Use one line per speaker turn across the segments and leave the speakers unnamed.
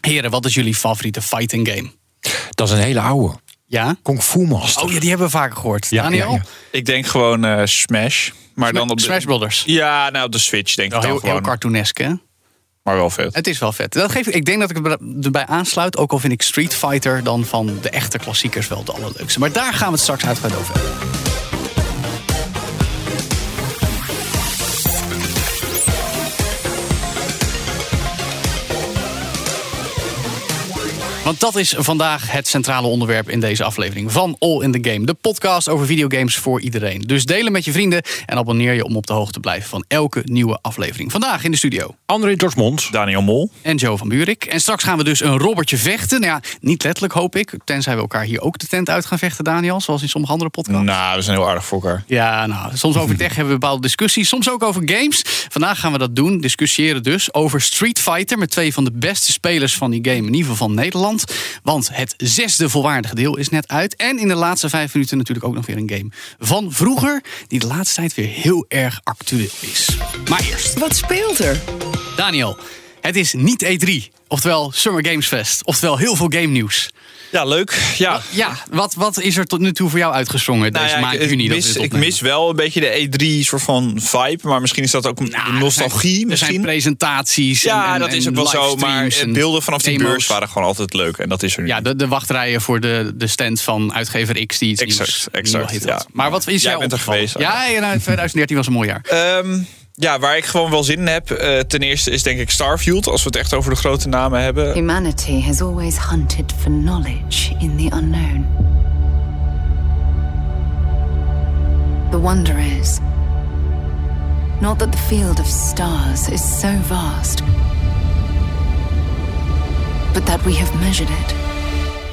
Heren, wat is jullie favoriete fighting game?
Dat is een hele oude.
Ja?
Kung Fu Master.
Oh ja, die hebben we vaker gehoord.
Ja,
Daniel?
ja, ja.
Ik denk gewoon eh, Smash. Maar
Sma-
dan op de...
Smash Brothers.
Ja, nou op de Switch denk
Wel
ik dan
heel, heel
gewoon.
cartoonesk, hè?
Maar wel vet.
Het is wel vet. Dat geeft, ik denk dat ik er- erbij aansluit. Ook al vind ik Street Fighter dan van de echte klassiekers wel de allerleukste. Maar daar gaan we het straks uitgebreid over hebben. Want dat is vandaag het centrale onderwerp in deze aflevering van All in the Game. De podcast over videogames voor iedereen. Dus delen met je vrienden en abonneer je om op de hoogte te blijven van elke nieuwe aflevering. Vandaag in de studio.
André Dorsmond.
Daniel Mol.
En Joe van Buurik. En straks gaan we dus een robbertje vechten. Nou ja, niet letterlijk hoop ik. Tenzij we elkaar hier ook de tent uit gaan vechten, Daniel. Zoals in sommige andere podcasts.
Nou, we zijn heel aardig voor elkaar.
Ja, nou, soms over tech hebben we bepaalde discussies. Soms ook over games. Vandaag gaan we dat doen. Discussiëren dus over Street Fighter. Met twee van de beste spelers van die game. In ieder geval van Nederland. Want het zesde volwaardige deel is net uit. En in de laatste vijf minuten natuurlijk ook nog weer een game van vroeger. Die de laatste tijd weer heel erg actueel is. Maar eerst.
Wat speelt er?
Daniel, het is niet E3, oftewel Summer Games Fest, oftewel heel veel game nieuws.
Ja, leuk. Ja.
Ja, wat, wat is er tot nu toe voor jou uitgesprongen
Nou
deze
ja,
maand
ik, ik
juni? dat we
mis,
dit
ik
opnemen?
mis wel een beetje de E3 soort van vibe. Maar misschien is dat ook een
Nou,
de nostalgie.
er zijn, Er
misschien.
zijn presentaties. en-
ja,
en-
dat is
en
ook wel zo. Maar
livestreams
eh,
en
beelden vanaf die
demos.
beurs waren gewoon altijd leuk. En dat is er nu.
Ja, de, de wachtrijen voor de, de stand van uitgever X die iets
Exact,
nieuws,
exact,
nieuw hit had.
ja.
Maar wat is
Jij
jou
bent er
opgevallen?
geweest, Arno.
Ja, ja nou, 2013 was een mooi jaar.
Ehm, ja, waar ik gewoon wel zin in heb. eh, ten eerste is denk ik Starfield. Als we het echt over de grote namen hebben.
Humanity has always hunted for knowledge in the unknown. The wonder is not that the field of stars is so vast, but that we have measured it.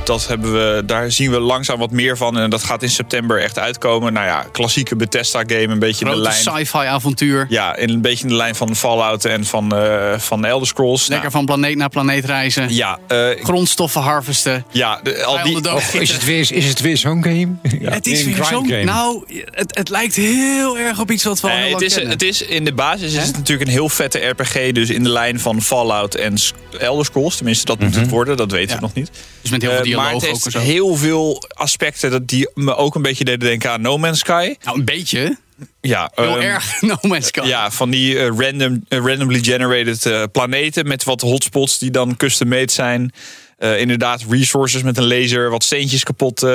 Dat hebben we, daar zien we langzaam wat meer van. En dat gaat in september echt uitkomen. Nou ja, klassieke Bethesda game. Een beetje in de
Grote
lijn.
sci-fi avontuur.
Ja, in een beetje in de lijn van Fallout en van, eh, van Elder Scrolls.
Lekker
Nou,
van planeet naar planeet reizen.
ja, eh,
Grondstoffen harvesten.
ja de- al die, Oh,
Vijanden dood.
Is het weer, is het weer zo'n game?
Het is weer zo'n... Nou, het, het lijkt heel erg op iets wat we al
Nee,
heel
het,
lang
is,
kennen.
het is in de basis is het natuurlijk een heel vette RPG. Dus in de lijn van Fallout en S- Elder Scrolls. Tenminste, dat moet het worden. Dat weten
Ja.
we nog niet.
Mhm. Dus met heel veel
Eh, maar
dialoog
het
ook en
heeft
zo.
heel veel aspecten dat die me ook een beetje deden denken aan No Man's Sky.
Nou, een beetje.
Ja,
Heel
ehm,
erg No Man's Sky.
Ja, van die eh, random, eh, randomly generated eh, planeten met wat hotspots die dan custom made zijn. Eh, inderdaad, resources met een laser, wat steentjes kapot eh,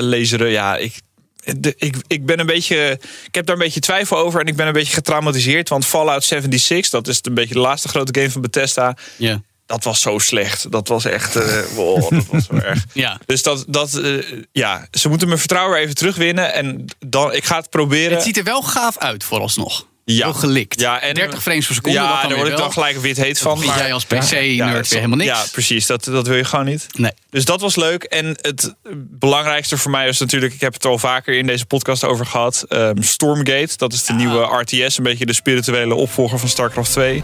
laseren. Ja, ik, de- ik, ik ben een beetje. Ik heb daar een beetje twijfel over en ik ben een beetje getraumatiseerd. Want Fallout 76, dat is een beetje de laatste grote game van Bethesda.
Ja.
Dat was zo slecht. Dat was echt. eh, wow, dat was zo erg.
Ja.
Dus dat. dat eh, ja, ze moeten mijn vertrouwen weer even terugwinnen. En dan. Ik ga het proberen.
Het ziet er wel gaaf uit vooralsnog.
Eh, Ja.
Heel gelikt.
Ja, en-
30 frames per seconde.
Ja,
dat dan
daar
weer
word ik
wel.
dan gelijk wit heet van.
Vind
maar-
jij als PC-nerd weer
dat-
helemaal niks.
Ja, precies. Dat, dat wil je gewoon niet.
Nee.
Dus dat was leuk. En het belangrijkste voor mij was natuurlijk... ik heb het al vaker in deze podcast over gehad... ehm, Stormgate, dat is de nieuwe RTS. Een beetje de spirituele opvolger van StarCraft 2.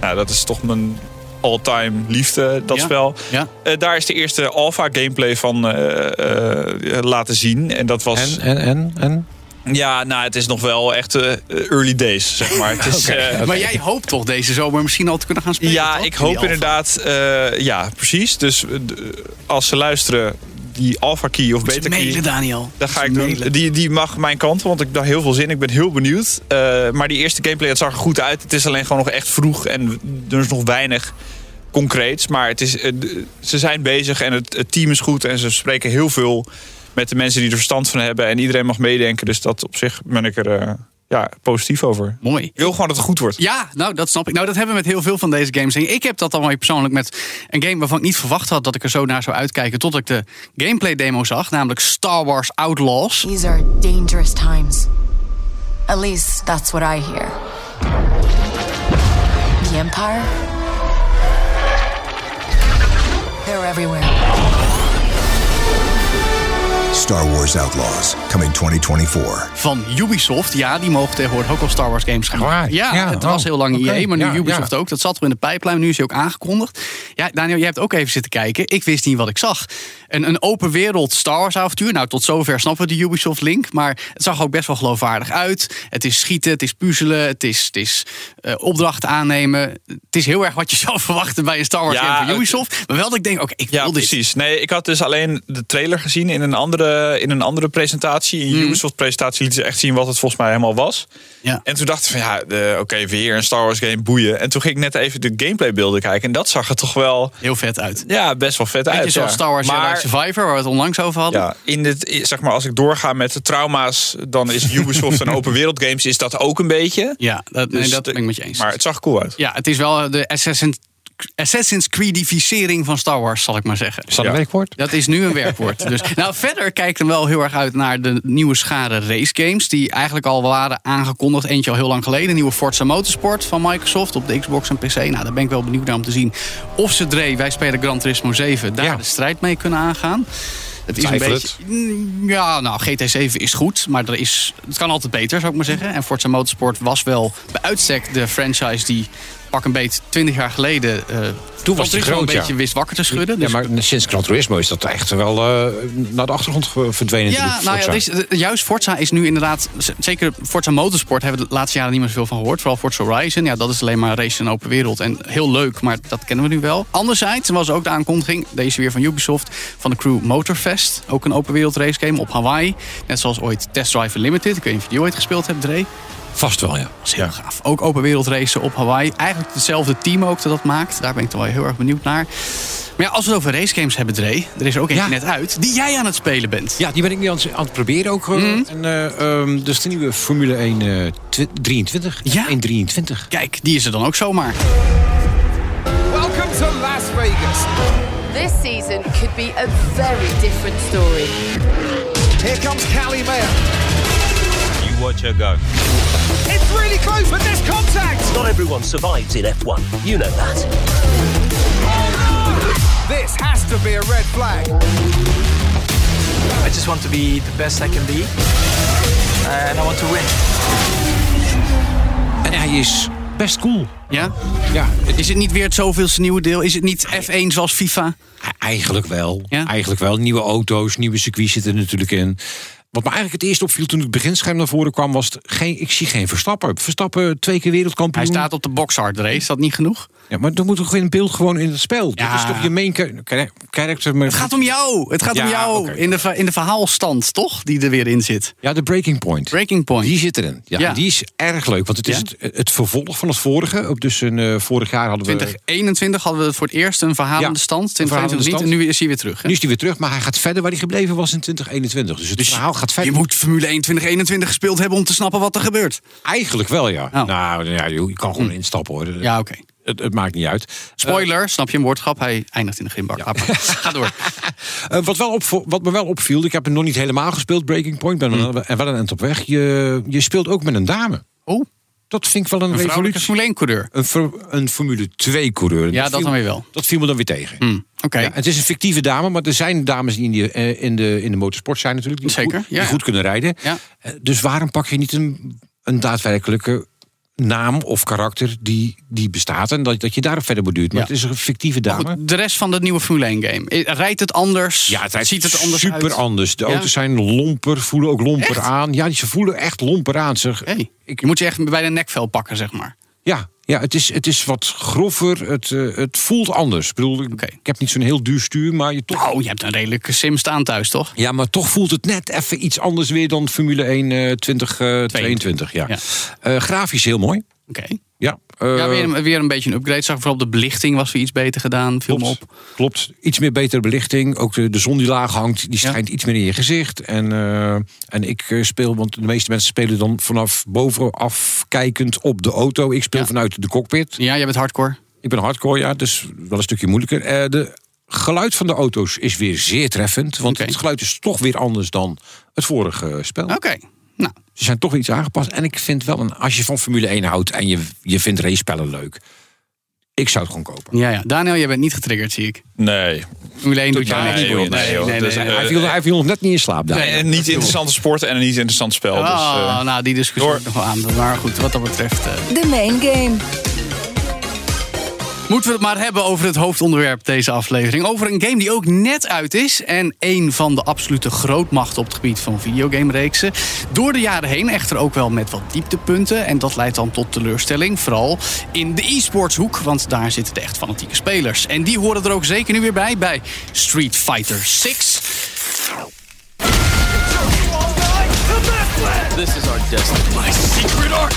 Nou, dat is toch mijn all-time liefde, dat
Ja.
spel.
Ja.
Eh, daar is de eerste alpha gameplay van eh, eh, laten zien. En dat was...
En, en, en, en?
Ja, nou, het is nog wel echt eh, early days, zeg maar. Het is, eh,
Maar jij hoopt toch deze zomer misschien al te kunnen gaan spelen?
Ja,
toch?
ik
Die
hoop
alpha.
inderdaad. eh, ja, precies. Dus eh, d- als ze luisteren, die alpha key of
Moet
beta
je mailen,
key.
Daniel.
Dat ga
Moet
ik
je
doen.
mailen.
Die, die mag mijn kant, want ik heb daar heel veel zin. in. Ik ben heel benieuwd. Eh, maar die eerste gameplay, het zag er goed uit. Het is alleen gewoon nog echt vroeg en er is nog weinig concreets. Maar het is, eh, d- ze zijn bezig en het, het team is goed. En ze spreken heel veel met de mensen die er verstand van hebben. En iedereen mag meedenken. Dus dat op zich ben ik er eh, ja, positief over.
Mooi.
Ik wil gewoon dat het goed wordt.
Ja, nou dat snap ik. Nou, dat hebben we met heel veel van deze games. En ik heb dat dan weer persoonlijk met een game waarvan ik niet verwacht had dat ik er zo naar zou uitkijken. Tot ik de gameplay demo zag, namelijk Star Wars Outlaws.
These are dangerous times. At least that's what I hear. The Empire everywhere.
Star Wars Outlaws, coming 2024.
van Ubisoft. Ja, die mogen tegenwoordig ook al Star Wars games gaan maken.
Waar?
Ja,
Ja,
het
oh,
was heel lang
oké,
IE, maar nu
ja,
Ubisoft ook. Dat zat al in de pijplijn, nu is hij ook aangekondigd. Ja, Daniel, jij hebt ook even zitten kijken. Ik wist niet wat ik zag. Een, een open wereld Star Wars avontuur. Nou, tot zover snappen we de Ubisoft link. Maar het zag ook best wel geloofwaardig uit. Het is schieten, het is puzzelen, het is, het is eh, opdrachten aannemen. Het is heel erg wat je zou verwachten bij een Star Wars
Ja,
game van
het-
Ubisoft. Maar wel dat ik denk, oké, ik wil
Ja,
dit.
precies. Nee, ik had dus alleen de trailer gezien in een andere, in een andere presentatie. In Ubisoft-presentatie lieten ze echt zien wat het volgens mij helemaal was.
Ja.
En toen dacht ik van ja, eh, oké, weer een Star Wars game, boeien. En toen ging ik net even de gameplaybeelden kijken. En dat zag er toch wel
Heel vet uit.
ja, best wel vet
Weet je,
uit.
zoals
ja.
Star Wars Jedi
maar,
Survivor, waar we het onlangs over hadden.
ja, in dit, zeg maar, als ik doorga met de trauma's, dan is Ubisoft en open wereld games is dat ook een beetje.
Ja, dat, nee,
Dus
dat
de-
ben ik met je eens.
Maar het zag cool uit.
Ja, het is wel eh, de Assassin's, Assassin's Creedificering van Star Wars, zal ik maar zeggen.
Is dat een werkwoord?
Dat is nu een werkwoord. Dus, nou, verder kijkt hem wel heel erg uit naar de nieuwe schare race games. Die eigenlijk al waren aangekondigd. Eentje al heel lang geleden. Nieuwe Forza Motorsport van Microsoft op de Xbox en PC. Nou, daar ben ik wel benieuwd naar om te zien. Of ze Dre, wij spelen Gran Turismo 7, daar
Ja.
de strijd mee kunnen aangaan. Het is een
Twijfel
beetje. Mm, Ja, nou, GT7 is goed, maar er is, het kan altijd beter, zou ik maar zeggen. En Forza Motorsport was wel bij uitstek de franchise die pak een beet 20 jaar geleden. eh, Gran
was die
Turismo
groot,
een
ja.
beetje wist wakker te schudden. Dus
Ja, maar sinds Gran Turismo is dat echt wel eh, naar de achtergrond ge- verdwenen.
Ja,
natuurlijk,
nou ja,
Forza.
dit is- juist Forza is nu inderdaad... z- Zeker Forza Motorsport hebben we de laatste jaren niet meer zoveel van gehoord. Vooral Forza Horizon. Ja, dat is alleen maar race in open wereld. En heel leuk, maar dat kennen we nu wel. Anderzijds was ook de aankondiging, deze weer van Ubisoft... van de crew Motorfest. Ook een open wereld race game op Hawaii. Net zoals ooit Test Drive Unlimited. Ik weet niet of je die ooit gespeeld hebt, Dre.
Vast wel, ja.
Dat is heel gaaf. Ook open wereld racen op Hawaii. Eigenlijk hetzelfde team ook dat dat maakt. Daar ben ik toch wel heel erg benieuwd naar. Maar ja, als we het over racegames hebben, Dre... er is er ook eentje
Ja.
net uit die jij aan het spelen bent.
Ja, Nou, die ben ik nu aan, het- aan het proberen ook. eh, En, eh, ehm, dus de nieuwe Formule 1 eh, twi- 23.
Ja.
1 23.
Kijk, die is er dan ook zomaar.
Welcome to Las Vegas.
This season could be a very different story.
Here comes Callie Mayer.
You watch her go.
It's really close, but there's contact.
Not everyone survives in F1. You know that.
This has to be a red flag.
I just want to be the best I can be. And I want to win.
En hij is best cool.
Ja?
Ja, het
Is het niet weer het zoveelste nieuwe deel? Is het niet F1 zoals FIFA?
Eigenlijk wel.
Ja?
Eigenlijk wel. Nieuwe auto's, nieuwe circuits zitten er natuurlijk in. Wat me eigenlijk het eerst opviel toen het beginscherm naar voren kwam, was het geen, ik zie geen Verstappen. Verstappen twee keer wereldkampioen.
Hij staat op de boxhard race, is dat niet genoeg?
Ja, maar dan moet toch in beeld gewoon in het spel.
Ja.
Dat is toch je main cha- chara- character. maar-
Het gaat om jou! Het gaat om
Ja,
jou!
oké.
In, de, ver- in de verhaalstand, toch? Die er weer in zit.
Ja, de breaking point.
Breaking point. Eh,
Die zit erin. Ja,
Ja.
en Die is erg leuk, want het is
Ja?
Eh, het, het vervolg van het vorige. Ook dus een, eh, vorig jaar hadden we...
2021 hadden we voor het eerst een verhalende
Ja,
stand.
een verhalende
2022 niet. En
stand.
nu is hij weer terug. hè?
Nu is hij weer terug, maar hij gaat verder waar hij gebleven was in 2021. Dus het verhaal gaat
Je
verder.
moet Formule 1 2021 gespeeld hebben om te snappen wat er gebeurt.
Eigenlijk wel, ja.
Oh. Hm.
Nou, ja, je, je kan gewoon instappen, hoor.
Ja, oké.
Het, het maakt niet uit.
Spoiler, snap je een woordgrap? Hij eindigt in de grimbak. Ah, maar- Ga door.
Eh, wat, wel opvo- wat me wel opviel, ik heb hem nog niet helemaal gespeeld, Breaking Point.
Hm.
Ben er wel- er wel een eind op weg. Je, je speelt ook met een dame.
Oh,
Dat vind ik wel een,
een vrouwelijke
revolutie.
Formule 1 coureur.
Een, for- een Formule 2 coureur.
Ja, dat
viel-
dan weer wel.
Dat viel me dan weer tegen.
Hm, Oké.
Ja, het is een fictieve dame, maar er zijn dames die in, die, eh, in, de, in de motorsport zijn natuurlijk. Die
Zeker,
goed,
ja.
die goed kunnen rijden.
Ja.
Eh, Dus waarom pak je niet een, een daadwerkelijke naam of karakter die, die bestaat en dat, dat je daarop verder beduurt? Maar
Ja.
het is een fictieve dame.
Goed, de rest van de nieuwe Formule 1 game. I- Rijdt het anders?
Ja, het rijdt
ziet het anders
super
uit?
anders. De
Ja.
auto's zijn lomper, voelen ook lomper
Echt?
aan. Ja, die- ze voelen echt lomper aan. Zeg.
Hey, je moet je echt bij de nekvel pakken, zeg maar.
Ja, ja het, is, het is wat grover. Het, eh, het voelt anders. Ik bedoel, ik,
Oké.
ik heb niet zo'n heel duur stuur, maar je toch...
Oh, je hebt een redelijke sim staan thuis, toch?
Ja, maar toch voelt het net even iets anders weer dan Formule 1 eh 2022. ja.
Ja.
Eh, grafisch heel mooi.
Oké.
Ja, eh,
ja, weer, een- weer een beetje een upgrade. Zag ik vooral op de belichting was weer iets beter gedaan. Viel me
klopt,
op.
klopt. Iets meer betere belichting. Ook de, de zon die laag hangt, die
Ja.
schijnt iets meer in je gezicht. En, eh, en ik eh, speel, want de meeste mensen spelen dan vanaf bovenaf kijkend op de auto. Ik speel
Ja.
vanuit de cockpit.
Ja, jij bent hardcore.
Ik ben hardcore, ja, dus wel een stukje moeilijker. Eh, de geluid van de auto's is weer zeer treffend. Want
Oké.
het geluid is toch weer anders dan het vorige eh, spel.
Oké. Nou,
Ze zijn toch weer iets aangepast. En ik vind wel, een, als je van Formule 1 houdt en je, je vindt race leuk. Ik zou het gewoon kopen.
ja, ja. Daniel, jij bent niet getriggerd, zie ik.
Nee,
Formule 1 doet jou
Nee,
niks
joh,
boeien.
nee, joh. Dus, eh, Dat is-
hij, viel, hij viel nog net niet in slaap. daar.
Nee, een niet interessante sport en een niet interessant spel. Dus,
Oh, nou, die discussie wordt nog wel aan. Maar goed, wat dat betreft... eh,
The main game.
Moeten we het maar hebben over het hoofdonderwerp deze aflevering. Over een game die ook net uit is. En een van de absolute grootmachten op het gebied van videogamereeksen. Door de jaren heen echter ook wel met wat dieptepunten. En dat leidt dan tot teleurstelling. Vooral in de e-sports hoek. Want daar zitten de echt fanatieke spelers. En die horen er ook zeker nu weer bij. Bij Street Fighter 6.
This is our destiny. My secret art.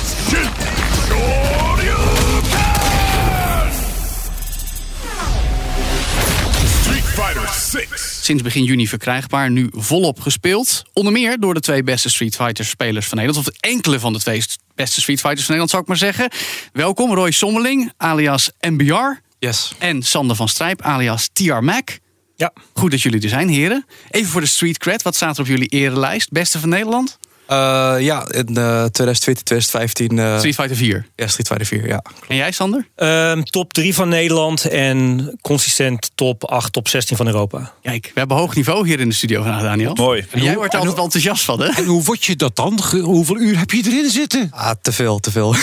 Street Fighter 6.
Sinds begin juni verkrijgbaar, nu volop gespeeld. Onder meer door de twee beste Street Fighter spelers van Nederland. Of de enkele van de twee st- beste Street Fighters van Nederland, zou ik maar zeggen. Welkom Roy Sommeling, alias MBR.
Yes.
En Sander van Strijp, alias TR Mac.
Ja.
Goed dat jullie er zijn, heren. Even voor de street cred, wat staat er op jullie erenlijst? Beste van Nederland?
Eh, ja, in eh, 2014, 2015. eh,
Street Fighter 4.
Ja, Street Fighter 4, ja. Eh.
En jij, Sander?
Ehm, top 3 van Nederland en consistent top 8, top 16 van Europa.
Kijk, we hebben hoog niveau hier in de studio vandaag, Daniel.
Mooi.
En jij wordt er altijd enthousiast van, hè? En
hoe word je dat dan? Ge- Hoeveel uur heb je erin zitten?
Ah, te veel, te veel.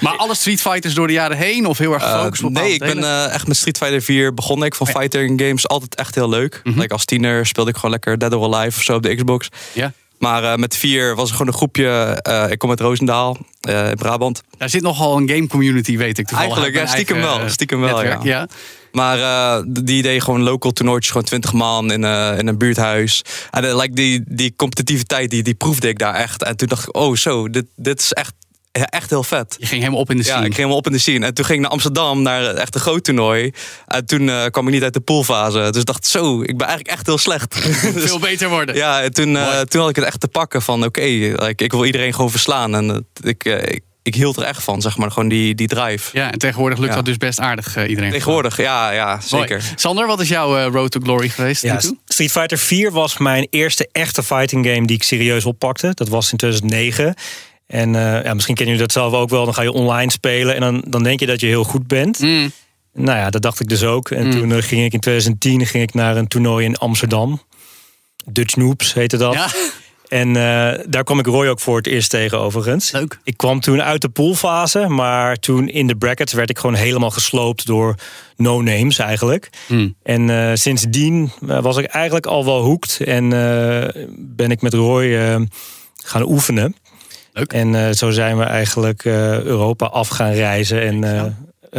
Maar alle Street Fighters door de jaren heen of heel erg gefocust op
Eh, nee, ik ben
bepaalde delen?
eh, echt met Street Fighter 4 begonnen. Ik
Oh
vond fighting games altijd echt heel leuk.
Mhm.
Like als tiener speelde ik gewoon lekker Dead or Alive of zo op de Xbox.
Ja.
Maar eh, met 4 was er gewoon een groepje. eh, ik kom uit Roosendaal, eh, in Brabant.
Daar zit nogal een game community, weet ik toevallig.
Eigenlijk, ja,
uit mijn
stiekem
eigen,
wel.
eh,
Stiekem wel,
netwerk,
ja. Maar eh, die deden gewoon local toernooitjes, gewoon 20 man in, eh, in een buurthuis. En eh, like die, die competitiviteit, die, die proefde ik daar echt. En toen dacht ik, oh zo, dit, dit is echt, ja, echt heel vet.
Je ging helemaal op in de scene.
Ja, ik ging helemaal op in de scene. En toen ging ik naar Amsterdam, naar eh, echt een groot toernooi. En toen eh, kwam ik niet uit de poolfase. Dus ik dacht, zo, ik ben eigenlijk echt heel slecht.
Veel beter worden.
Ja, en toen, eh, toen had ik het echt te pakken van, oké, like, ik wil iedereen gewoon verslaan. En eh, ik, eh, ik, ik hield er echt van, zeg maar, gewoon die, die drive.
Ja, en tegenwoordig lukt
Ja.
dat dus best aardig eh, iedereen.
Tegenwoordig, ja, ja zeker.
Mooi. Sander, wat is jouw eh, Road to Glory geweest? tot nu
Ja,
toe?
Street Fighter 4 was mijn eerste echte fighting game die ik serieus oppakte. Dat was in 2009. En eh, ja, misschien kennen jullie dat zelf ook wel. Dan ga je online spelen en dan, dan denk je dat je heel goed bent.
Mm.
Nou ja, dat dacht ik dus ook. En toen eh, ging ik in 2010 ging ik naar een toernooi in Amsterdam. Dutch Noobs heette dat. En eh, daar kwam ik Roy ook voor het eerst tegen overigens.
Leuk.
Ik kwam toen uit de poolfase, maar toen in de brackets werd ik gewoon helemaal gesloopt door no-names eigenlijk. En eh, sindsdien eh, was ik eigenlijk al wel hooked en eh, ben ik met Roy eh, gaan oefenen. En eh, zo zijn we eigenlijk eh, Europa af gaan reizen en eh,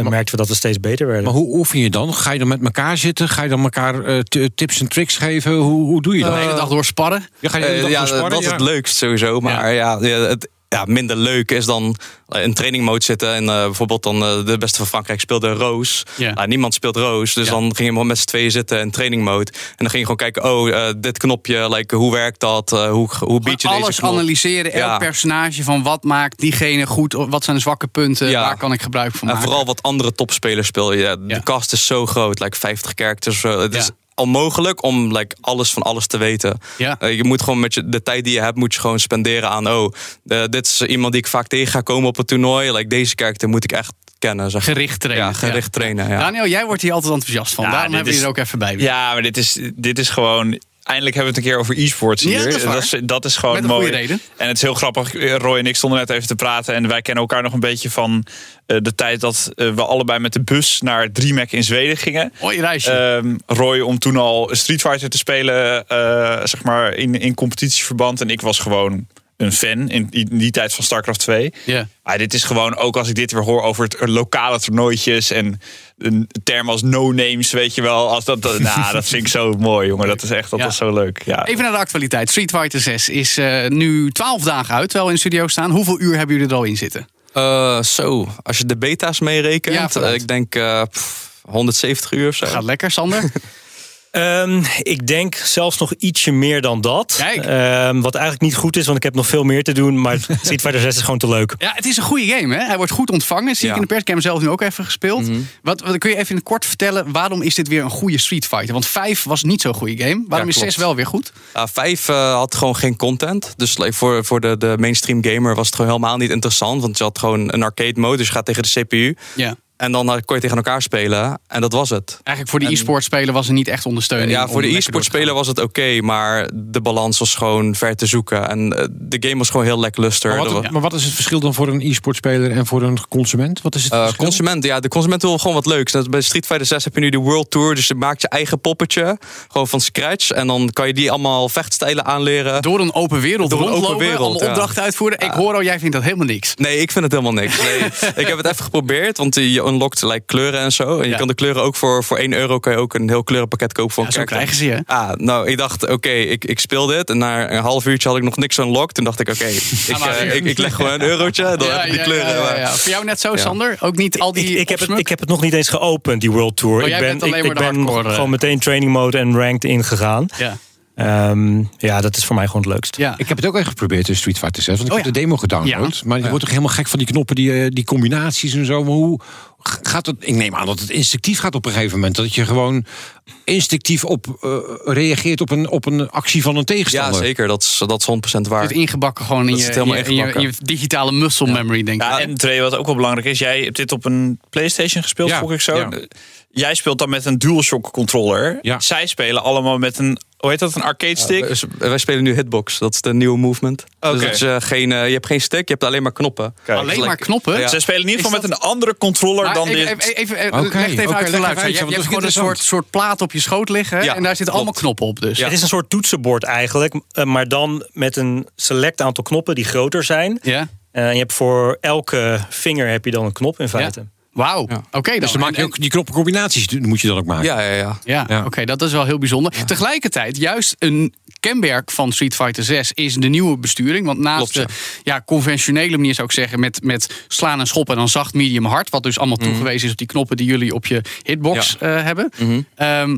merkten we dat we steeds beter werden.
Maar hoe oefen je dan? Ga je dan met elkaar zitten? Ga je dan elkaar eh, t- tips en tricks geven? Hoe, hoe doe je dat?
Eh,
De hele dag door sparren?
Ja, ga je de hele dag
Eh, ja,
door sparren?
dat is
Ja.
het leukst sowieso. Maar ja, ja, het ja, minder leuk is dan eh, in training mode zitten. En eh, bijvoorbeeld dan eh, de beste van Frankrijk speelde Roos.
Ja.
Nou, niemand speelt Roos. Dus dan ging je maar met z'n tweeën zitten in training mode. En dan ging je gewoon kijken, oh, eh, dit knopje, like, hoe werkt dat? Eh, hoe, hoe bied je deze
Alles
knop?
analyseren, elk
Ja.
personage van wat maakt diegene goed, wat zijn de zwakke punten, waar kan ik gebruik van
En
maken.
vooral wat andere topspelers speel je. De cast is zo groot, like 50 characters. eh, Het is onmogelijk om like, alles van alles te weten.
Ja.
Eh, je moet gewoon met je, de tijd die je hebt, moet je gewoon spenderen aan... oh, eh, dit is iemand die ik vaak tegen ga komen op het toernooi. Like, deze character moet ik echt kennen. Zeg.
Gericht trainen.
Ja, gericht
ja.
trainen, ja.
Daniel, jij wordt hier altijd enthousiast van.
Ja,
Daarom
dit
hebben we
is-
je er ook even bij. willen.
Ja, maar dit is, dit is gewoon. Eindelijk hebben we het een keer over e-sports
Ja,
hier.
dat is waar.
dat, is, dat is gewoon
Met een
mooi.
goede reden.
En het is heel grappig. Roy en ik stonden net even te praten. En wij kennen elkaar nog een beetje van eh, de tijd dat eh, we allebei met de bus naar DreamHack in Zweden gingen.
Mooi
Eh,
reisje.
Ehm, Roy om toen al Street Fighter te spelen, eh, zeg maar in, in competitieverband. En ik was gewoon een fan in, in die tijd van StarCraft 2.
Ja.
Maar Ah, dit is gewoon, ook als ik dit weer hoor over het lokale toernooitjes en een term als no-names, weet je wel. Als dat, dat, nou, dat vind ik zo mooi, jongen. Dat is echt, dat is zo leuk. Ja.
Even naar de actualiteit. Street Fighter 6 is eh, nu 12 dagen uit, terwijl we in de studio staan. Hoeveel uur hebben jullie er al in zitten?
Eh, zo, als je de beta's meerekent, eh, ik denk eh, pff, 170 uur of zo.
Gaat lekker, Sander.
Ehm, ik denk zelfs nog ietsje meer dan dat. Ehm, wat eigenlijk niet goed is, want ik heb nog veel meer te doen. Maar Street Fighter 6 is gewoon te leuk.
Ja, het is een goede game, hè? Hij wordt goed ontvangen. Zie ik in de pers. Ik heb hem zelf nu ook even gespeeld.
Mhm.
wat, wat kun je even in het kort vertellen? Waarom is dit weer een goede Street Fighter? Want 5 was niet zo'n goede game. Waarom is 6 wel weer goed?
Ja, vijf eh, had gewoon geen content. Dus like, voor, voor de, de mainstream gamer was het gewoon helemaal niet interessant. Want je had gewoon een arcade mode, dus je gaat tegen de CPU.
Ja.
En dan eh, kon je tegen elkaar spelen. En dat was het.
Eigenlijk voor de
En-
e-sport speler was er niet echt ondersteuning.
Ja,
om
voor de
lekker
e-sport speler was het oké, maar de balans was gewoon ver te zoeken. En eh, de game was gewoon heel lekluster.
Maar wat,
Er wa-
maar wat is het verschil dan voor een e-sportspeler en voor een consument? Wat is het
Eh,
Dus
verschil?
consument, ja, de consument wil gewoon wat leuks. Net als Bij Street Fighter 6 heb je nu de World Tour, dus je maakt je eigen poppetje, gewoon van scratch, en dan kan je die allemaal vechtstijlen aanleren.
Door een open wereld
Door een
rondlopen,
open wereld.
allemaal
ja.
opdrachten uitvoeren. Ik hoor al, jij vindt dat helemaal niks.
Nee, ik vind het helemaal niks. Nee, ik heb het even geprobeerd, want je unlockt like, kleuren en zo. En je kan de kleuren ook voor, voor 1 euro kan je ook een heel kleurenpakket kopen van
Ja, zo krijgen ze je.
Ah, nou, ik dacht, oké, ik, ik speel dit. En na een half uurtje had ik nog niks unlocked. Toen dacht ik, oké, ik,
maar
eh,
weer.
ik, ik leg gewoon een eurotje, dan
Ja,
heb ik die
ja,
kleuren.
ja, ja,
maar-
ja. Voor jou net zo,
Ja.
Sander? Ook niet al die
Ik, ik, heb het,
opsmuk?
ik heb het nog niet eens geopend, die World Tour.
Oh, jij
ik ben,
bent alleen
ik,
maar
ik
de
ben
hardcore, eh.
gewoon meteen training mode en ranked ingegaan.
Ja.
Ehm, ja, dat is voor mij gewoon het leukste.
Ja.
Ik heb het ook echt geprobeerd in Street Fighter 6. Want ik
Oh,
heb de demo gedownload.
Ja.
Maar je wordt toch helemaal gek van die knoppen, die, eh, die combinaties en zo. Maar hoe g- gaat het? Ik neem aan dat het instinctief gaat op een gegeven moment. Dat je gewoon instinctief op, eh, reageert op een, op een actie van een
Ja,
tegenstander.
zeker. Dat is, dat is 100% waar.
Het ingebakken gewoon in
Dat
je,
zit helemaal
in je- in je-
ingebakken.
in je digitale muscle memory, denk ik.
Ja, en twee, wat ook wel belangrijk is, jij hebt dit op een PlayStation gespeeld,
Ja,
vroeg ik zo. Eh,
ja.
Jij speelt dan met een DualShock controller. Zij
dus
spelen allemaal met een, hoe heet dat, een arcade stick?
Ja, dus, eh, wij- wij spelen nu Hitbox, dat is de nieuwe movement. Dus
Oké.
dat is, eh, geen, eh, je hebt geen stick, je hebt alleen maar knoppen.
Kijk.
Dus
Alleen
like-
maar knoppen?
Ja.
Zij spelen in ieder geval
Is
met een andere controller
Maar
dan
even,
dit.
even, even, even,
Oké,
leg het even uit
oké, leg
voor
even
de
uit,
luisteraar.
ja,
Je hebt
want
je hebt
dat
gewoon
vind
een
ik
soort, soort plaat op je schoot liggen. en daar zitten allemaal knoppen op dus.
Het is een soort toetsenbord eigenlijk, eh, maar dan met een select aantal knoppen die groter zijn.
Ja.
Eh, en je hebt voor elke vinger heb je dan een knop in feite.
Wauw, oké dan.
Dus dan maak je
En-
ook die knoppencombinaties die moet je dan ook maken.
Ja, ja, ja.
Ja, oké, dat is wel heel bijzonder. Tegelijkertijd, juist een kenmerk van Street Fighter 6 is de nieuwe besturing. Want naast de ja, conventionele manier zou ik zeggen, met, met slaan en schoppen en dan zacht, medium, hard. Wat dus allemaal toegewezen is op die knoppen die jullie op je hitbox eh, hebben. ehm,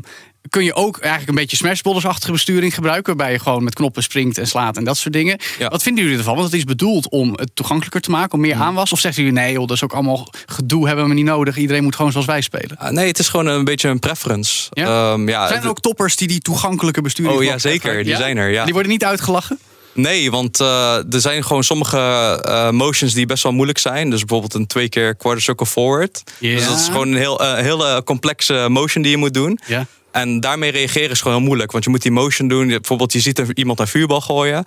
kun je ook eigenlijk een beetje Smash Brothers-achtige besturing gebruiken... waarbij je gewoon met knoppen springt en slaat en dat soort dingen. Wat vinden jullie ervan? Want het is bedoeld om het toegankelijker te maken, om meer aanwas. Of zeggen jullie, nee joh, dat is ook allemaal gedoe, hebben we niet nodig. Iedereen moet gewoon zoals wij spelen.
Ah, Nee, het is gewoon een beetje een preference. Ehm, ja,
Zijn er ook toppers die die toegankelijke besturing
Oh ja,
vlak
zeker.
hebben?
Die
Ja?
zijn er, ja.
Die worden niet uitgelachen?
Nee, want eh, er zijn gewoon sommige eh, motions die best wel moeilijk zijn. Dus bijvoorbeeld een twee keer quarter circle forward. Dus dat is gewoon een heel, eh, hele complexe motion die je moet doen.
Ja.
En daarmee reageren is gewoon heel moeilijk. Want je moet die motion doen. Je- Bijvoorbeeld je ziet een- iemand een vuurbal gooien.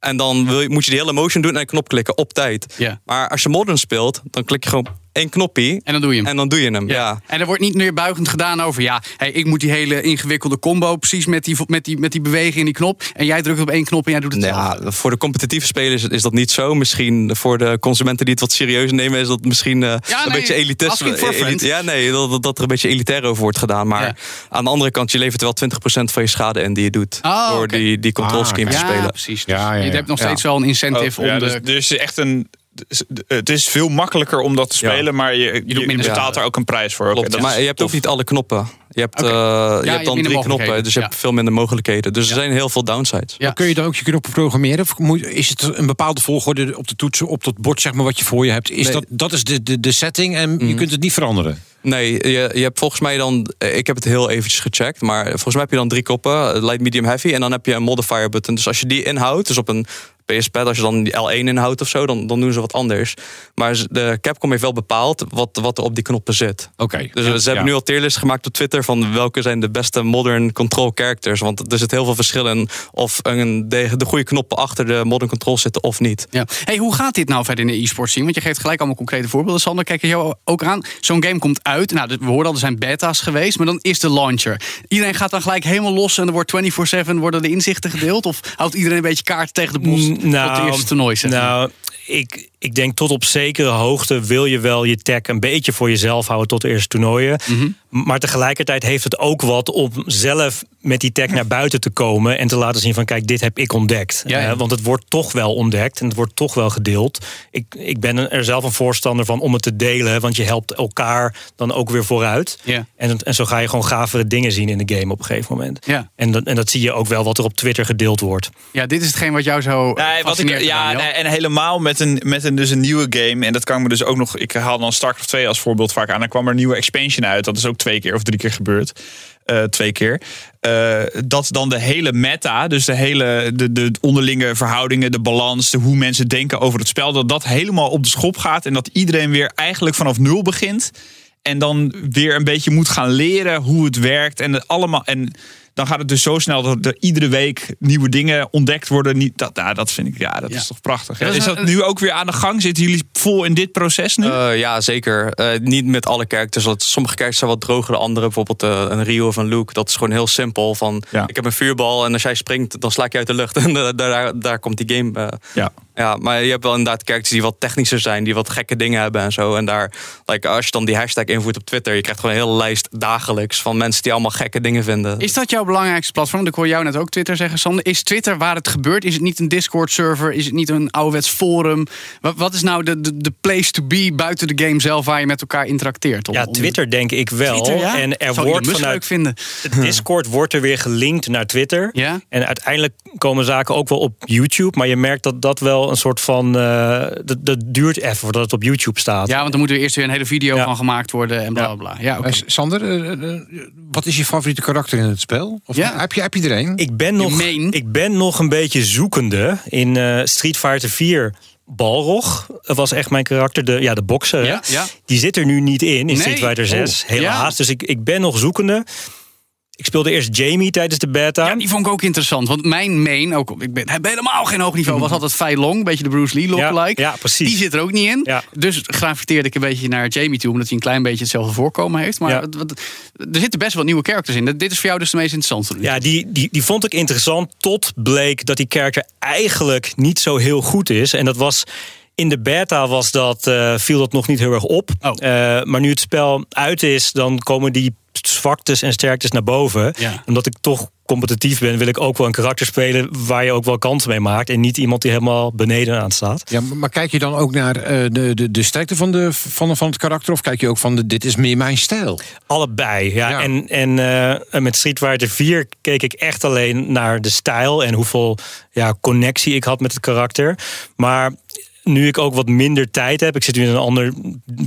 En dan wil je- moet je die hele motion doen en een knop klikken op tijd.
Ja.
Maar als je modern speelt, dan klik je gewoon één knoppie.
En dan doe je hem.
En dan doe je hem, ja.
En er wordt niet meer buigend gedaan over, ja, hey, ik moet die hele ingewikkelde combo precies met die, met, die, met die beweging in die knop. En jij drukt op één knop en jij doet het zelf.
Ja, voor de competitieve spelers is dat niet zo. Misschien voor de consumenten die het wat serieus nemen, is dat misschien eh,
Ja,
een
nee,
beetje
asking
elitisme.
for a friend.
ja, nee, dat, dat- dat er een beetje elitair over wordt gedaan. Maar aan de andere kant, je levert wel 20% van je schade in die je doet.
Oh,
door
oké.
die, die control
Ah,
scheme te
ja,
spelen.
precies. Dus Je hebt nog steeds wel een incentive
Oh, ja,
om de...
dus, dus echt een, dus- het is veel makkelijker om dat te spelen, maar je, je,
minder.
betaalt daar ook een prijs voor. Oké, dat
maar
is
je hebt
tof.
ook niet alle knoppen. Je hebt, eh, je hebt
hebt
dan
minder
drie knoppen,
mogelijkheden,
dus je hebt veel minder mogelijkheden. Dus er zijn heel veel downsides.
Maar kun je dan ook je knoppen programmeren? Of moet- is het een bepaalde volgorde op de toetsen, op dat bord zeg maar, wat je voor je hebt? Is
Nee.
dat, dat is de, de, de setting en je kunt het niet veranderen?
Nee, je, je hebt volgens mij dan. eh, Ik heb het heel eventjes gecheckt. Maar volgens mij heb je dan drie koppen: eh, light, medium, heavy. En dan heb je een modifier button. Dus als je die inhoudt, dus op een PS-pad, als je dan die L1 inhoudt of zo, dan, dan doen ze wat anders. Maar ze- de Capcom heeft wel bepaald wat, wat er op die knoppen zit.
Oké.
Dus
Ja,
ze hebben
ja.
nu al teerlist gemaakt op Twitter van welke zijn de beste modern control characters. Want er zit heel veel verschil in of een, de, de goede knoppen achter de modern control zitten of niet.
Ja. Hey, hoe gaat dit nou verder in de e-sport zien? Want je geeft gelijk allemaal concrete voorbeelden. Sander, kijk je jou ook aan. Zo'n game komt uit. Nou, we hoorden al, er zijn beta's geweest. Maar dan is de launcher. Iedereen gaat dan gelijk helemaal los. En er wordt 24-7 worden de inzichten gedeeld. Of houdt iedereen een beetje kaart tegen de bos
Mm,
op het eerste toernooi? Zeg. maar?
Nou, ik, ik denk tot op zekere hoogte wil je wel je tech een beetje voor jezelf houden tot de eerste toernooien.
Mhm.
Maar tegelijkertijd heeft het ook wat om zelf met die tech naar buiten te komen en te laten zien van kijk, dit heb ik ontdekt.
Ja, ja.
Eh, want het wordt toch wel ontdekt en het wordt toch wel gedeeld. Ik, ik ben een- er zelf een voorstander van om het te delen, want je helpt elkaar dan ook weer vooruit.
Ja.
En, en zo ga je gewoon gavere dingen zien in de game op een gegeven moment.
Ja.
En, dat, en dat zie je ook wel wat er op Twitter gedeeld wordt.
ja, dit is hetgeen wat jou zo eh,
Nee, wat ik,
fascineert.
ja,
Daniel.
nee, en helemaal met een, met een, dus een nieuwe game. En dat kan ik me dus ook nog. Ik haal dan StarCraft 2 als voorbeeld vaak aan. Dan kwam er een nieuwe expansion uit. Dat is ook twee keer of drie keer gebeurd. Eh, twee keer. Eh, dat dan de hele meta, dus de hele de, de onderlinge verhoudingen, de balans, de hoe mensen denken over het spel, dat dat helemaal op de schop gaat. En dat iedereen weer eigenlijk vanaf nul begint.
En dan weer een beetje moet gaan leren hoe het werkt. En, het allemaal, en dan gaat het dus zo snel dat er iedere week nieuwe dingen ontdekt worden. Niet, dat, nou, dat vind ik, ja, dat is toch prachtig. hè?
Ja, dat
is
is
dat
een-
nu ook weer aan de gang? Zitten jullie vol in dit proces nu?
Eh, ja, zeker. Eh, niet met alle characters. Want sommige characters zijn wat droger dan andere. Bijvoorbeeld eh, een Rio of een Luke. Dat is gewoon heel simpel. Van, Ik heb een vuurbal en als jij springt, dan sla ik je uit de lucht. En eh, daar, daar komt die game. eh.
ja.
Ja, maar je hebt wel inderdaad characters die wat technischer zijn. Die wat gekke dingen hebben en zo. En daar, like, als je dan die hashtag invoert op Twitter. Je krijgt gewoon een hele lijst dagelijks van mensen die allemaal gekke dingen vinden.
Is dat jouw belangrijkste platform? Want ik hoor jou net ook Twitter zeggen, Sander. Is Twitter waar het gebeurt? Is het niet een Discord-server? Is het niet een ouderwets forum? Wat, wat is nou de, de, de place to be buiten de game zelf waar je met elkaar interacteert?
Ja, Twitter denk ik wel.
Twitter, ja?
Oh, En er
Zou
wordt
Elon Musk
vanuit
leuk vinden.
het Discord wordt er weer gelinkt naar Twitter. En uiteindelijk komen zaken ook wel op YouTube. Maar je merkt dat dat wel een soort van. eh, dat, dat duurt even voordat het op YouTube staat.
Ja, want dan moet er eerst weer een hele video van gemaakt worden en bla bla bla. Ja, oké.
Eh, Sander, eh, eh, wat is je favoriete karakter in het spel? Of heb, je, heb je er een?
Ik ben, nog, ik ben nog een beetje zoekende. In eh, Street Fighter 4 Balrog was echt mijn karakter. De, ja, de bokser. hè?
Ja, ja.
Die zit er nu niet in, in
Nee.
Street Fighter 6.
Oh,
helaas.
ja.
Dus ik, ik ben nog zoekende. Ik speelde eerst Jamie tijdens de beta.
Ja, die vond ik ook interessant. Want mijn main, ook, ik ben, heb helemaal geen hoog niveau, was altijd Fei Long. Een beetje de Bruce Lee lookalike.
Mm. Ja, ja, precies.
Die zit er ook niet in. Dus graviteerde ik een beetje naar Jamie toe. Omdat hij een klein beetje hetzelfde voorkomen heeft. Maar
Ja.
wat- wat- er zitten best wel nieuwe characters in. Dat- Dit is voor jou dus de meest interessante.
Ja, die, die, die vond ik interessant. Tot bleek dat die character eigenlijk niet zo heel goed is. En dat was. In de beta was dat, eh, viel dat nog niet heel erg op. Eh, maar nu het spel uit is, dan komen die zwaktes en sterktes naar boven.
Ja.
Omdat ik toch competitief ben, wil ik ook wel een karakter spelen waar je ook wel kansen mee maakt. En niet iemand die helemaal beneden aan staat.
Ja, maar maar kijk je dan ook naar eh, de, de, de sterkte van, de, van, van het karakter? Of kijk je ook van, de, dit is meer mijn stijl?
Allebei, ja. En, en eh, met Street Fighter 4 keek ik echt alleen naar de stijl en hoeveel ja, connectie ik had met het karakter. Maar nu ik ook wat minder tijd heb, ik zit nu in een andere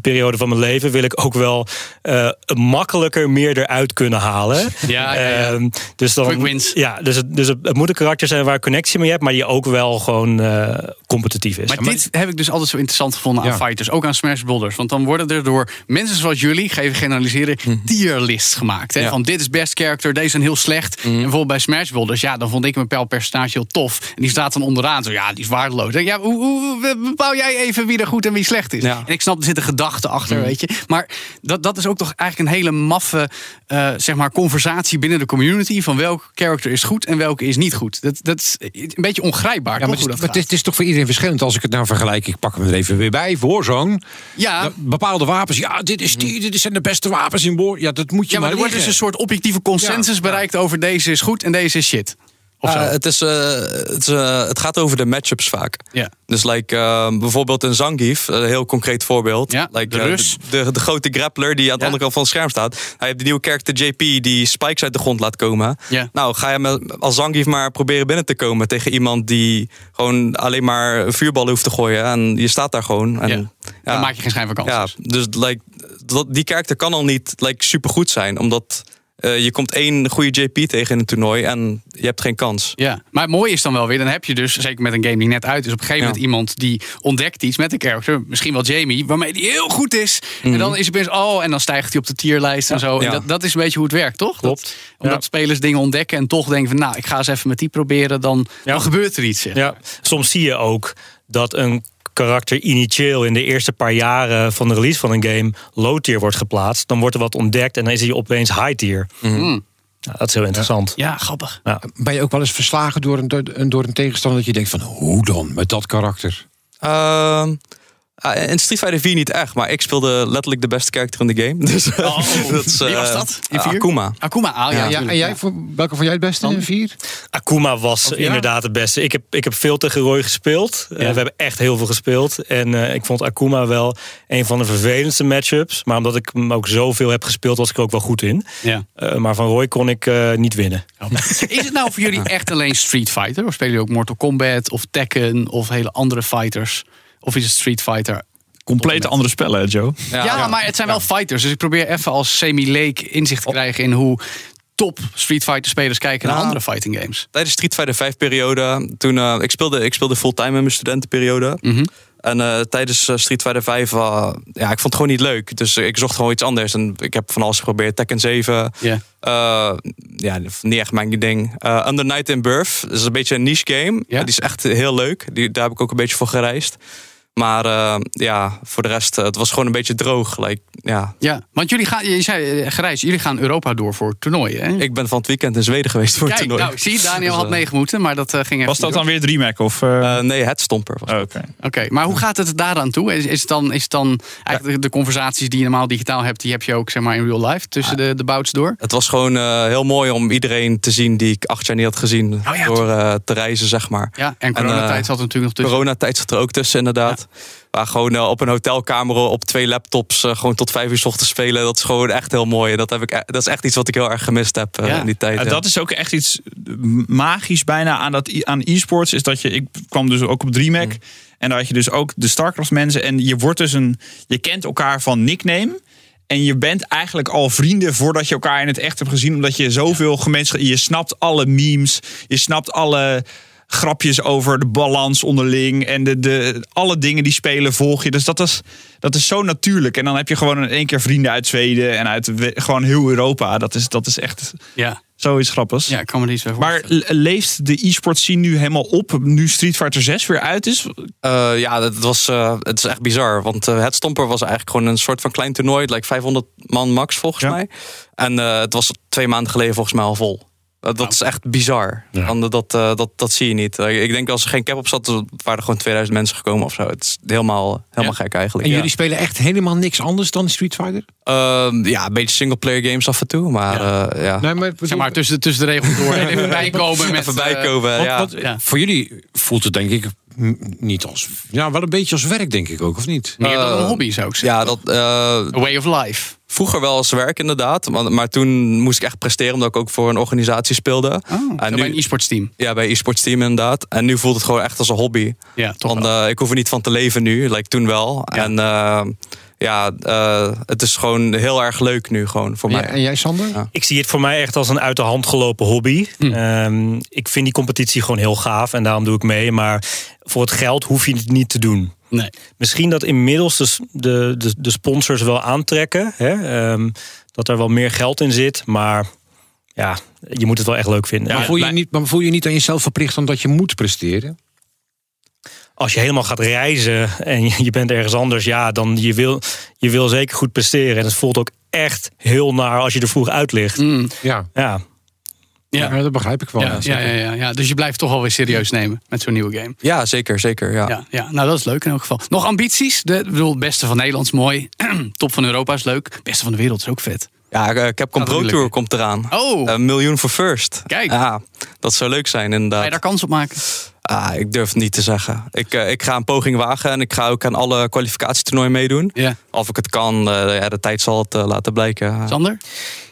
periode van mijn leven, wil ik ook wel eh, makkelijker meer eruit kunnen halen.
Ja, ja, ja.
Ehm, dus dan,
Quick wins.
Ja, dus het, dus het, het moet een karakter zijn waar ik connectie mee hebt, maar die ook wel gewoon eh, competitief is.
Maar dit heb ik dus altijd zo interessant gevonden aan
Ja.
fighters. Ook aan Smash Brothers. Want dan worden er door mensen zoals jullie, geven generaliseren,
Mhm.
tierlists gemaakt. Hè?
Ja.
Van dit is best character, deze zijn heel slecht.
Mhm.
En bijvoorbeeld bij Smash Brothers, ja, dan vond ik mijn pijlpercentage heel tof. En die staat dan onderaan. Zo, ja, die is waardeloos. Denk, Ja, hoe, hoe hoe bepaal jij even wie er goed en wie slecht is? En ik snap, er zit een gedachte achter,
Mhm.
weet je. Maar dat, dat is ook toch eigenlijk een hele maffe eh, zeg maar, conversatie binnen de community. Van welk character is goed en welke is niet goed. Dat, dat is een beetje ongrijpbaar.
Ja,
toch,
maar,
hoe
het,
dat
maar het is, het
gaat.
is toch voor iedereen verschillend. Als ik het nou vergelijk, ik pak hem er even weer bij. Warzone.
Ja.
Dat Bepaalde wapens. Ja, dit, is die, dit zijn de beste wapens in War. Ja, dat moet je
Ja, maar er wordt
liggen.
dus een soort objectieve consensus bereikt over deze is goed en deze is shit. Of zo.
Eh, het, is, eh, het, is, eh, het gaat over de matchups vaak.
Ja.
Dus like, eh, bijvoorbeeld een Zangief, een heel concreet voorbeeld. Like,
de
eh,
Rus.
de, de, de grote grappler die aan de andere kant van het scherm staat. Hij heeft de nieuwe character JP die spikes uit de grond laat komen.
Ja.
Nou, ga je met, als Zangief maar proberen binnen te komen tegen iemand die gewoon alleen maar vuurballen hoeft te gooien. En je staat daar gewoon. En, ja.
Dan maak je geen schijn van kans.
Ja, dus like, dat, die karakter kan al niet like, supergoed zijn, omdat... eh, je komt één goede JP tegen in een toernooi en je hebt geen kans.
Ja, maar het mooie is dan wel weer, dan heb je dus, zeker met een game die net uit is, op een gegeven moment iemand die ontdekt iets met een character, misschien wel Jamie, waarmee die heel goed is. En dan is het opeens, oh, en dan stijgt hij op de tierlijst en zo. En
Mhm. Ja.
dat, dat is een beetje hoe het werkt, toch? Klopt. omdat
Ja.
spelers dingen ontdekken en toch denken van, nou, ik ga eens even met die proberen, dan, dan gebeurt er iets. zeg.
Ja, soms zie je ook dat een karakter initieel in de eerste paar jaren van de release van een game low tier wordt geplaatst. Dan wordt er wat ontdekt en dan is hij opeens high tier. Nou, dat is heel interessant.
Ja, grappig.
Ben je ook wel eens verslagen door een, door een- door een tegenstander... dat je denkt van, hoe dan met dat karakter?
Ehm, ah, in Street Fighter 4 niet echt, maar ik speelde letterlijk de beste character in de game. Dus, dat is,
Oh, Wie was
eh,
dat? In
eh,
vier?
Akuma.
Akuma, ah, ja, ja,
en jij, voor, welke vond jij het beste in vier?
Akuma was inderdaad het beste. Ik heb, ik heb veel tegen Roy gespeeld. Eh, we hebben echt heel veel gespeeld. En eh, ik vond Akuma wel een van de vervelendste matchups. Maar omdat ik hem ook zoveel heb gespeeld, was ik er ook wel goed in.
Ja.
Eh, maar van Roy kon ik eh, niet winnen.
Is het nou voor jullie echt alleen Street Fighter? Of spelen jullie ook Mortal Kombat of Tekken of hele andere fighters? Of is het Street Fighter?
Compleet andere spellen, hè, Joe.
Ja, maar het zijn wel fighters. Dus ik probeer even als semi-leek inzicht
Oh.
te krijgen in hoe top Street Fighter spelers kijken naar
Nou,
andere fighting games. Mhm.
Tijdens de Street Fighter 5 periode, toen eh, ik speelde, ik speelde fulltime in mijn studentenperiode. En eh, tijdens eh, Street Fighter 5, eh, ja, ik vond het gewoon niet leuk. Dus ik zocht gewoon iets anders. En ik heb van alles geprobeerd. Tekken 7.
Ja.
Eh, ja, niet echt mijn ding. Eh, Under Night in Birth. Dat is een beetje een niche game. Die is echt heel leuk. Die, daar heb ik ook een beetje voor gereisd. Maar eh, ja, voor de rest, eh, het was gewoon een beetje droog. Like, ja,
Ja, want jullie gaan, je zei eh, Grijs, jullie gaan Europa door voor toernooien. Hè?
Ik ben van het weekend in Zweden geweest voor
Hm. Kijk,
het toernooi.
nou, zie, Daniel
Dus,
had
eh,
meegemoeten, maar dat eh, ging echt
Was dat
niet
dan
door.
weer het remake of?
eh, nee, het stomper was
Oké.
Oh, Oké, maar hoe gaat het daaraan toe? Is, is, het dan, is het dan eigenlijk de conversaties die je normaal digitaal hebt, die heb je ook zeg maar, in real life tussen
Ah.
de, de bouts door?
Het was gewoon eh, heel mooi om iedereen te zien die ik acht jaar niet had gezien. door eh, te reizen, zeg maar.
Oh, Ja, en coronatijd
eh,
zat er natuurlijk nog tussen.
Coronatijd zat er ook tussen, inderdaad. Waar gewoon eh, op een hotelkamer op twee laptops eh, gewoon tot vijf uur 's ochtends spelen. Dat is gewoon echt heel mooi. En Dat, heb ik, e- dat is echt iets wat ik heel erg gemist heb eh, in die tijd.
Ja,
ja.
Dat is ook echt iets magisch bijna aan, dat, aan e-sports. Is dat je, ik kwam dus ook op DreamHack.
Mm.
En daar had je dus ook de StarCraft mensen. En je wordt dus een, je kent elkaar van nickname. En je bent eigenlijk al vrienden voordat je elkaar in het echt hebt gezien. Omdat je zoveel gemeenschap, je snapt alle memes. Je snapt alle grapjes over de balans onderling. En de, de, alle dingen die spelen volg je. Dus dat is, dat is zo natuurlijk. En dan heb je gewoon in één keer vrienden uit Zweden en uit we- gewoon heel Europa. Dat is, dat is echt
Ja.
zoiets grappigs. Ja,
ik kan me niet zo
Maar le- leeft de e-sport scene nu helemaal op? Nu Street Fighter 6 weer uit is?
Eh, ja, dat was, eh, het is echt bizar. Want eh, het Stomper was eigenlijk gewoon een soort van klein toernooi. Het lijkt 500 man max volgens mij. En eh, het was twee maanden geleden volgens mij al vol. Eh, dat is echt bizar. Want dat, eh, dat, dat zie je niet. Eh, ik denk als er geen cap op zat, waren er gewoon 2000 mensen gekomen of zo. Het is helemaal, helemaal gek eigenlijk.
En
ja.
jullie spelen echt helemaal niks anders dan Street Fighter?
Ehm, ja, een beetje singleplayer games af en toe. Maar ja. ja.
Nee, maar,
Zeg maar tussen, tussen de regels door en even bijkomen. Met,
Even bijkomen,
eh,
ja.
want-
Want Voor jullie voelt het denk ik m- niet als... Ja, wel een beetje als werk denk ik ook, of niet?
Meer dan een hobby zou ik zeggen.
Eh, Ja, dat, eh,
way of life.
Vroeger wel als werk inderdaad, maar, maar toen moest ik echt presteren omdat ik ook voor een organisatie speelde. en nu, bij een
e-sports team.
Ja, bij een e-sports team inderdaad. En nu voelt het gewoon echt als een hobby.
Ja,
Want eh, ik hoef er niet van te leven nu, lijkt toen wel. En eh, ja, eh, het is gewoon heel erg leuk nu gewoon voor mij.
En jij Sander?
Ik zie het voor mij echt als een uit de hand gelopen hobby. Ehm, ik vind die competitie gewoon heel gaaf en daarom doe ik mee. Maar voor het geld hoef je het niet te doen.
Nee.
Misschien dat inmiddels de, s- de, de, de sponsors wel aantrekken. Hè? Ehm, dat er wel meer geld in zit. Maar ja, je moet het wel echt leuk vinden.
maar, voel je niet, maar voel je niet aan jezelf verplicht omdat je moet presteren?
als je helemaal gaat reizen en je- je bent ergens anders, ja, dan je wil, je wil zeker goed presteren. En het voelt ook echt heel naar als je er vroeg uit ligt.
Mm.
Ja.
ja.
Ja.
dat begrijp ik wel.
Ja, ja, ja, ja, ja. Dus je blijft toch alweer serieus nemen met zo'n nieuwe game.
Ja, zeker, zeker. Ja.
Ja, ja, nou dat is leuk in elk geval. Nog ambities? De, ik bedoel, beste van Nederland is mooi. Top van Europa is leuk. Beste van de wereld is ook vet.
Ja, eh, Capcom
Gaat
Pro
niet
Tour
lukken.
komt eraan.
Oh.
Een miljoen voor first.
Kijk.
Ja, dat zou leuk zijn inderdaad.
Ga je daar kans op maken?
Ah, ik durf het niet te zeggen. Ik, eh, ik ga een poging wagen en ik ga ook aan alle kwalificatietoernooien meedoen.
Ja.
Of ik het kan, eh, ja, de tijd zal het eh, laten blijken.
Sander?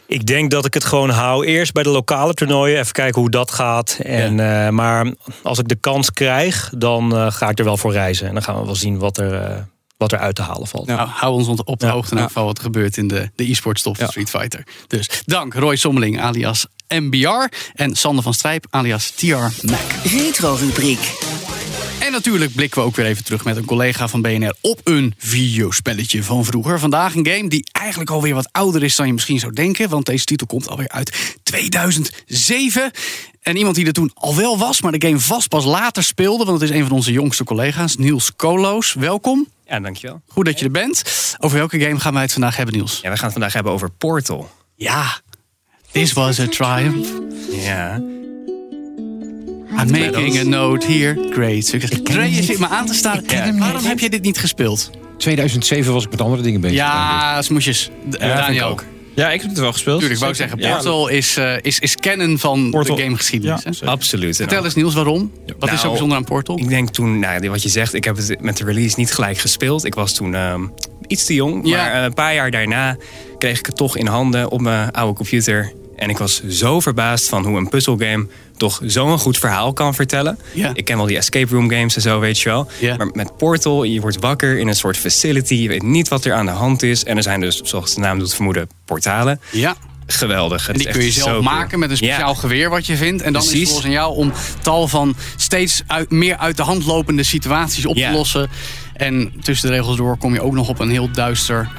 Ik denk dat ik het gewoon hou. Eerst bij de lokale toernooien, even kijken hoe dat gaat. En, eh, maar als ik de kans krijg, dan eh, ga ik er wel voor reizen. En dan gaan we wel zien wat er, eh, wat er uit te halen valt.
Nou, hou ons op de hoogte in elk geval wat er gebeurt in de, de e-sport stop van Street Fighter. Dus dank Roy Sommeling alias MBR en Sander van Strijp alias TR Mac.
Retro-rubriek.
En natuurlijk blikken we ook weer even terug met een collega van BNR op een videospelletje van vroeger. Vandaag een game die eigenlijk alweer wat ouder is dan je misschien zou denken, want deze titel komt alweer uit 2007. En iemand die er toen al wel was, maar de game vast pas later speelde, want het is een van onze jongste collega's, Niels Koloos. Welkom.
Ja, dankjewel.
Goed dat je er bent. Over welke game gaan wij het vandaag hebben, Niels?
Ja, we gaan het vandaag hebben over Portal.
Ja, this was a triumph.
Ja.
I'm making a note here. Great success. Dre, je zit me aan te staan. Waarom heb je dit niet gespeeld?
2007 was ik met andere dingen bezig.
Ja, smoesjes. D-
Ja, vind ik
Daniel
ook.
ook.
Ja, ik heb het wel gespeeld.
Tuurlijk, ik wou
Zeker.
zeggen, Portal is, eh, is, is kennen van
Portal.
de gamegeschiedenis.
Ja,
hè?
zeker. Absoluut.
Vertel eens Niels, waarom? Wat is zo bijzonder aan Portal?
Ik denk toen, nou, wat je zegt, ik heb het met de release niet gelijk gespeeld. Ik was toen ehm, iets te jong. Maar eh, een paar jaar daarna kreeg ik het toch in handen op mijn oude computer. En ik was zo verbaasd van hoe een puzzelgame toch zo'n goed verhaal kan vertellen.
Ja.
Ik ken wel die escape room games en zo, weet je wel. Maar met Portal, je wordt wakker in een soort facility. Je weet niet wat er aan de hand is. En er zijn dus, zoals de naam doet vermoeden, portalen.
Ja.
Geweldig.
En die kun je zelf maken met een speciaal geweer wat je vindt. En dan is
Precies.
het volgens aan jou om tal van steeds uit, meer uit de hand lopende situaties op te lossen. En tussen de regels door kom je ook nog op een heel duister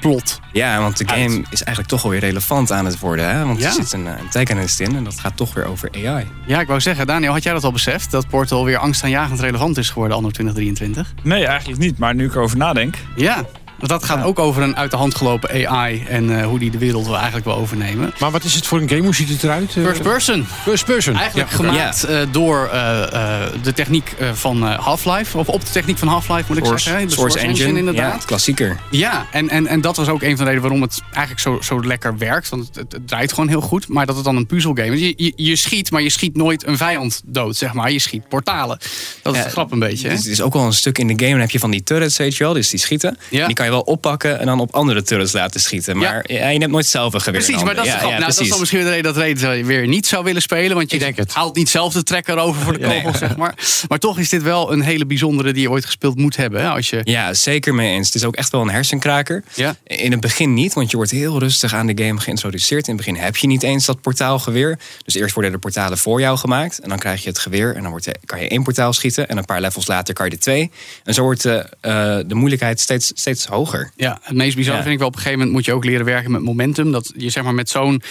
plot.
Ja, want de game is eigenlijk toch alweer relevant aan het worden. Hè? Want
Ja.
er zit een, eh, een tech-analyst in en dat gaat toch weer over AI.
Ja, ik wou zeggen, Daniel, had jij dat al beseft? Dat Portal weer angstaanjagend relevant is geworden anno 2023?
Nee, eigenlijk niet. Maar nu ik erover nadenk.
Ja, want dat gaat ook over een uit de hand gelopen AI en eh, hoe die de wereld wil eigenlijk wil overnemen.
Maar wat is het voor een game? Hoe ziet het eruit? Eh,
First person.
First person.
Eigenlijk
Ja, oké.
gemaakt eh, door eh, eh, de techniek eh, van eh, Half-Life. Of op de techniek van Half-Life moet ik
Source-
zeggen. hè? De
Source Engine,
inderdaad.
ja, klassieker.
Ja, en, en, en dat was ook een van de redenen waarom het eigenlijk zo, zo lekker werkt. Want het, het, het draait gewoon heel goed. Maar dat het dan een puzzelgame is. Je, je, je schiet, maar je schiet nooit een vijand dood, zeg maar. Je schiet portalen. Dat is de grap een beetje. Hè?
Dus het is ook wel een stuk in de game. Dan heb je van die turrets, weet je wel. Dus die schieten. Die kan je wel oppakken en dan op andere turrets laten schieten. Maar ja, je hebt nooit zelf een geweer. in
Precies, maar dat
handen.
is de grap.
ja, ja,
nou, dat is
precies.
dan misschien de reden dat Reden zou je weer niet zou willen spelen. Want je haalt niet zelf de trekker over voor de kogel, zeg maar. Maar toch is dit wel een hele bijzondere die je ooit gespeeld moet hebben. Hè? Als je...
Ja, zeker mee eens. Het is ook echt wel een hersenkraker. In het begin niet, want je wordt heel rustig aan de game geïntroduceerd. In het begin heb je niet eens dat portaalgeweer. Dus eerst worden de portalen voor jou gemaakt. En dan krijg je het geweer. En dan wordt, kan je één portaal schieten. En een paar levels later kan je er twee. En zo wordt de, eh, de moeilijkheid steeds, steeds hoger.
Ja, het meest bizarre
Ja.
vind ik wel op een gegeven moment moet je ook leren werken met momentum. Dat je zeg maar met zo'n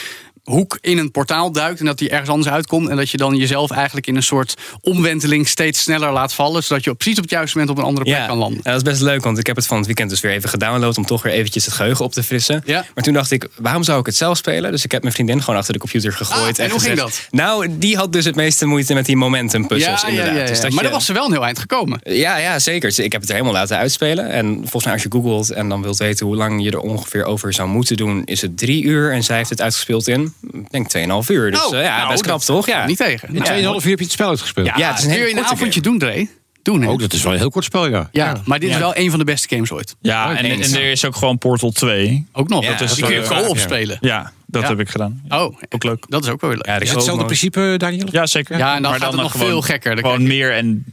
hoek in een portaal duikt en dat die ergens anders uitkomt. En dat je dan jezelf eigenlijk in een soort omwenteling steeds sneller laat vallen. Zodat je op, precies op het juiste moment op een andere plek kan landen.
Ja, dat is best leuk, want ik heb het van het weekend dus weer even gedownload om toch weer eventjes het geheugen op te frissen. Maar toen dacht ik, waarom zou ik het zelf spelen? Dus ik heb mijn vriendin gewoon achter de computer gegooid.
Ah, en hoe ging
gezegd- Nou, die had dus het meeste moeite met die momentum puzzels
Ja, ja,
inderdaad.
ja, ja.
Dus
Maar
je-
daar was ze wel een heel eind gekomen.
Ja, ja, zeker. Dus Ik heb het er helemaal laten uitspelen. En volgens mij als je googelt en dan wilt weten hoe lang je er ongeveer over zou moeten doen, is het drie uur. En zij heeft het uitgespeeld in, ik denk 2,5 uur. Dus
Nou,
eh, ja,
nou,
best
dat
knap toch? Ja.
niet tegen. Nou,
Ja.
In 2,5
uur heb je het spel uitgespeeld.
Ja, het is een,
hele
een
korte
avondje doen, Dre. Doen, hè?
Oh, dat is wel een heel kort spel, ja.
Ja, maar dit is wel een van de beste games ooit.
Ja, en, en er is ook gewoon Portal 2.
Ook nog, dat is- die kun je
eh,
co-op
Oh, ja.
spelen.
Ja, dat
Ja.
heb ik gedaan.
Oh, ook leuk. Dat is ook wel weer leuk.
Ja, de co-op mode.
principe, eh, Daniel?
Ja, zeker.
Ja, en dan
Maar
gaat het nog
gewoon-
veel gekker. Dan
Gewoon meer en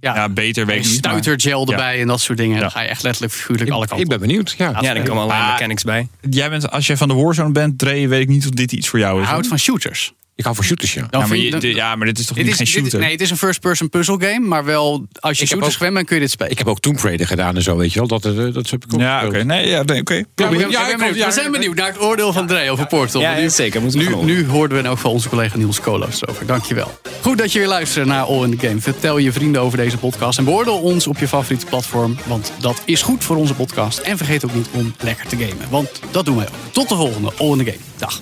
ja, beter weet ik niet. maar-
stuitergel
Ja.
erbij en dat soort dingen. Dan ga je echt letterlijk figuurlijk alle kanten.
ben benieuwd.
Ja, dan komen allerlei
Maar
mechanics bij.
Jij bent, als jij van de Warzone bent, Dre, weet ik niet of dit iets voor jou is.
Houdt van shooters.
Ik hou van shooters, ja.
Ja, maar,
vind
je-
ik-
dit- ja, maar dit is toch
Dit
niet
is,
geen
dit-
shooter?
nee, het is een first-person puzzle game, maar wel als je
heb
shooters
ook-
gewend bent kun je dit spelen.
Ik heb ook Tomb Raider gedaan en zo, weet je wel. Dat, eh, dat heb ik ook Ja, oké.
Nee, ja, nee, oké.
Ja, ik ben- ik ben benieuwd. We zijn benieuwd naar het oordeel van Dre over Portal.
Ja, ja,
Nu-
zeker. Moeten we
Nu,
gaan
nu hoorden we ook van onze collega Niels Koolhoofd erover. Dankjewel. Goed dat je weer luistert naar All in the Game. Vertel je vrienden over deze podcast en beoordeel ons op je favoriete platform. Want dat is goed voor onze podcast. En vergeet ook niet om lekker te gamen. Want dat doen wij ook. Tot de volgende All in the Game. Dag.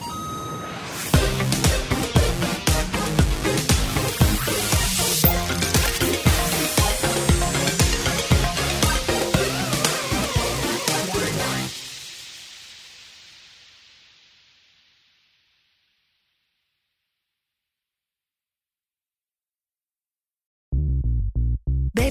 Bij